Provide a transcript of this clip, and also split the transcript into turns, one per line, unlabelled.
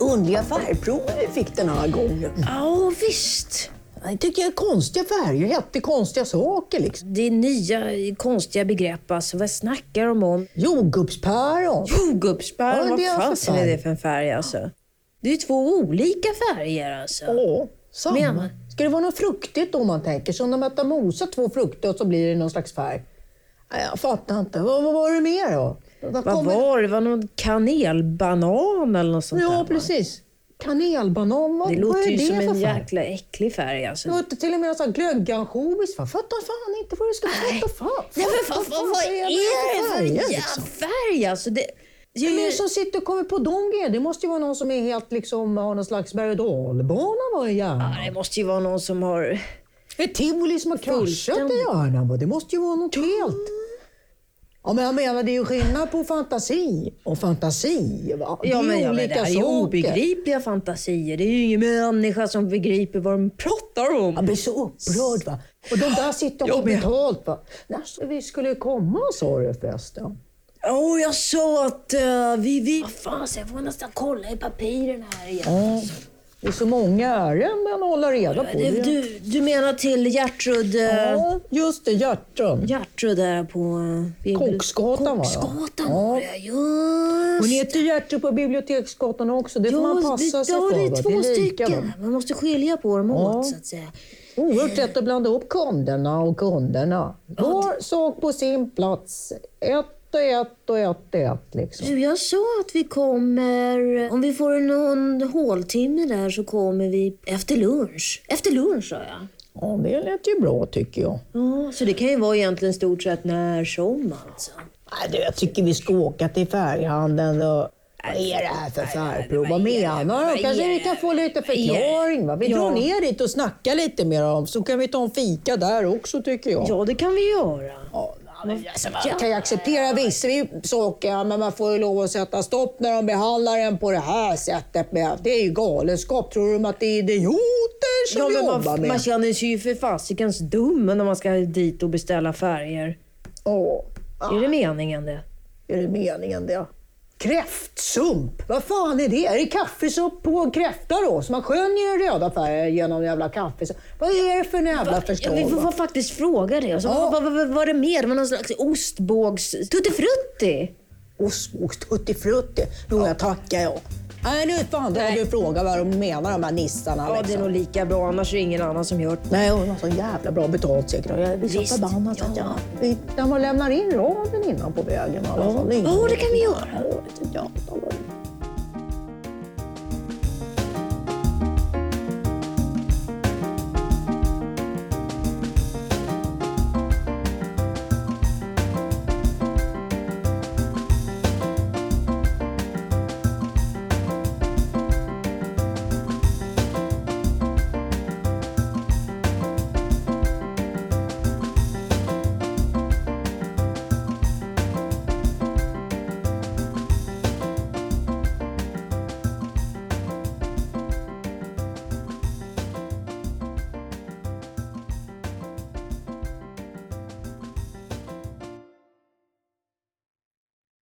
manliga färgprover vi fick den här gången.
Ja, visst.
Jag tycker jag är konstiga färger, jättekonstiga saker liksom.
Det är nya konstiga begrepp alltså. Vad snackar de om?
Jordgubbspäron.
Jordgubbsbär,
Ja, det är
vad
för
fasen är
färg.
det för en färg alltså? Det är ju två olika färger alltså.
Ja, samma.
Menar.
Ska det vara något fruktigt då man tänker? Som när man tar mosat två frukter och så blir det någon slags färg. Nej, jag fattar inte. Vad, vad var det mer då? Vad
Vad var det? Det var någon kanelbanan eller något sånt där,
Ja,
va?
precis. Kanelbanan, vad,
Det
vad
låter
är
ju
det
som
för
en
färg?
jäkla äcklig färg alltså.
Det låter till och med som glöggansjovis. Jag fattar fan inte vad det ska vara. Fan,
Nej, men vad, vad, vad
är
är det för
färger,
jävla
liksom?
färg alltså? Det, det
Vem är
är
det
ju...
som sitter och kommer på de grejerna? Det måste ju vara någon som är helt liksom, har någon slags berg och dalbana var i hjärnan.
Ja, Det måste ju vara någon som har...
Ett tivoli som har kraschat i
Fullständigt.
hjärnan. va? Det måste ju vara något helt. Ja, men jag menar, det är ju skillnad på fantasi och fantasi. Va? Det är
Ja, men,
ju
ja, men det
olika
här är ju
saker.
obegripliga fantasier. Det är ju ingen människa som begriper vad de pratar om.
Jag blir så upprörd. Va? Och de där sitter och
Jag
får
med.
betalt. Va? När så vi skulle komma sa du förresten.
Åh, jag sa att eh, vi... vi... Vad fan, så jag får nästan kolla i papiren här igen.
Ja, Det är så många ärenden att hålla reda på.
Du, du, du menar till Gertrud... eh,
Ja, just det, hjärtan.
Gertrud där på... eh,
Koksgatan var jag.
Koksgatan
Ja.
var det, just
Hon heter Gertrud på Biblioteksgatan också. Det får man passa sig
ja,
för.
det
va?
är två
lika dem.
stycken. Man måste skilja på dem
Ja.
åt så att säga.
Oerhört lätt att blanda upp kunderna och kunderna. Var sak på sin plats. Ett och ett och ett och ett. Liksom.
Du, jag sa att vi kommer... Om vi får någon håltimme där så kommer vi efter lunch. Efter lunch sa jag.
Ja, det lät ju bra tycker jag.
Ja, så det kan ju vara egentligen stort sett när som alltså.
Nej, du, jag tycker vi ska åka till färghandeln. Och... Vad är det här för färgprov? Vad menar de? Kanske vi kan få lite förklaring? Va? Vi
Ja.
drar ner dit och snackar lite mer om så kan vi ta en fika där också tycker jag.
Ja, det kan vi göra.
Ja, men alltså, man kan ju acceptera vissa saker, men man får ju lov att sätta stopp när de behandlar en på det här sättet. Med. Det är ju galenskap. Tror de att det är idioter som
Ja, men
jobbar
man,
med?
man känner sig ju för fasikens dum när man ska dit och beställa färger.
Ja,
Är det meningen det?
är det meningen det? Kräftsump? Vad fan är det? Är det kaffesump på en kräfta då? Så man skönjer den röda färgen genom den jävla kaffesump. Vad är det för jävla
Ja,
förslag?
vi får
va?
faktiskt fråga det. Alltså,
Ja.
vad, vad, vad var det mer? Det var någon slags ostbågs... Tuttifrutti?
och såg tuttifrutti. Jo, jag tackar jag. Nej, nu fan, då får du fråga vad de menar de här nissarna.
Ja,
liksom.
det är nog lika bra. Annars är det ingen annan som gör det.
Nej, hon har så jävla bra betalt säkert. Och Jag blir så
Visst,
förbannad. så att
ja.
jag- När man lämnar in raden innan på vägen i alla fall.
Ja, det kan vi göra.
Ja, det tycker jag.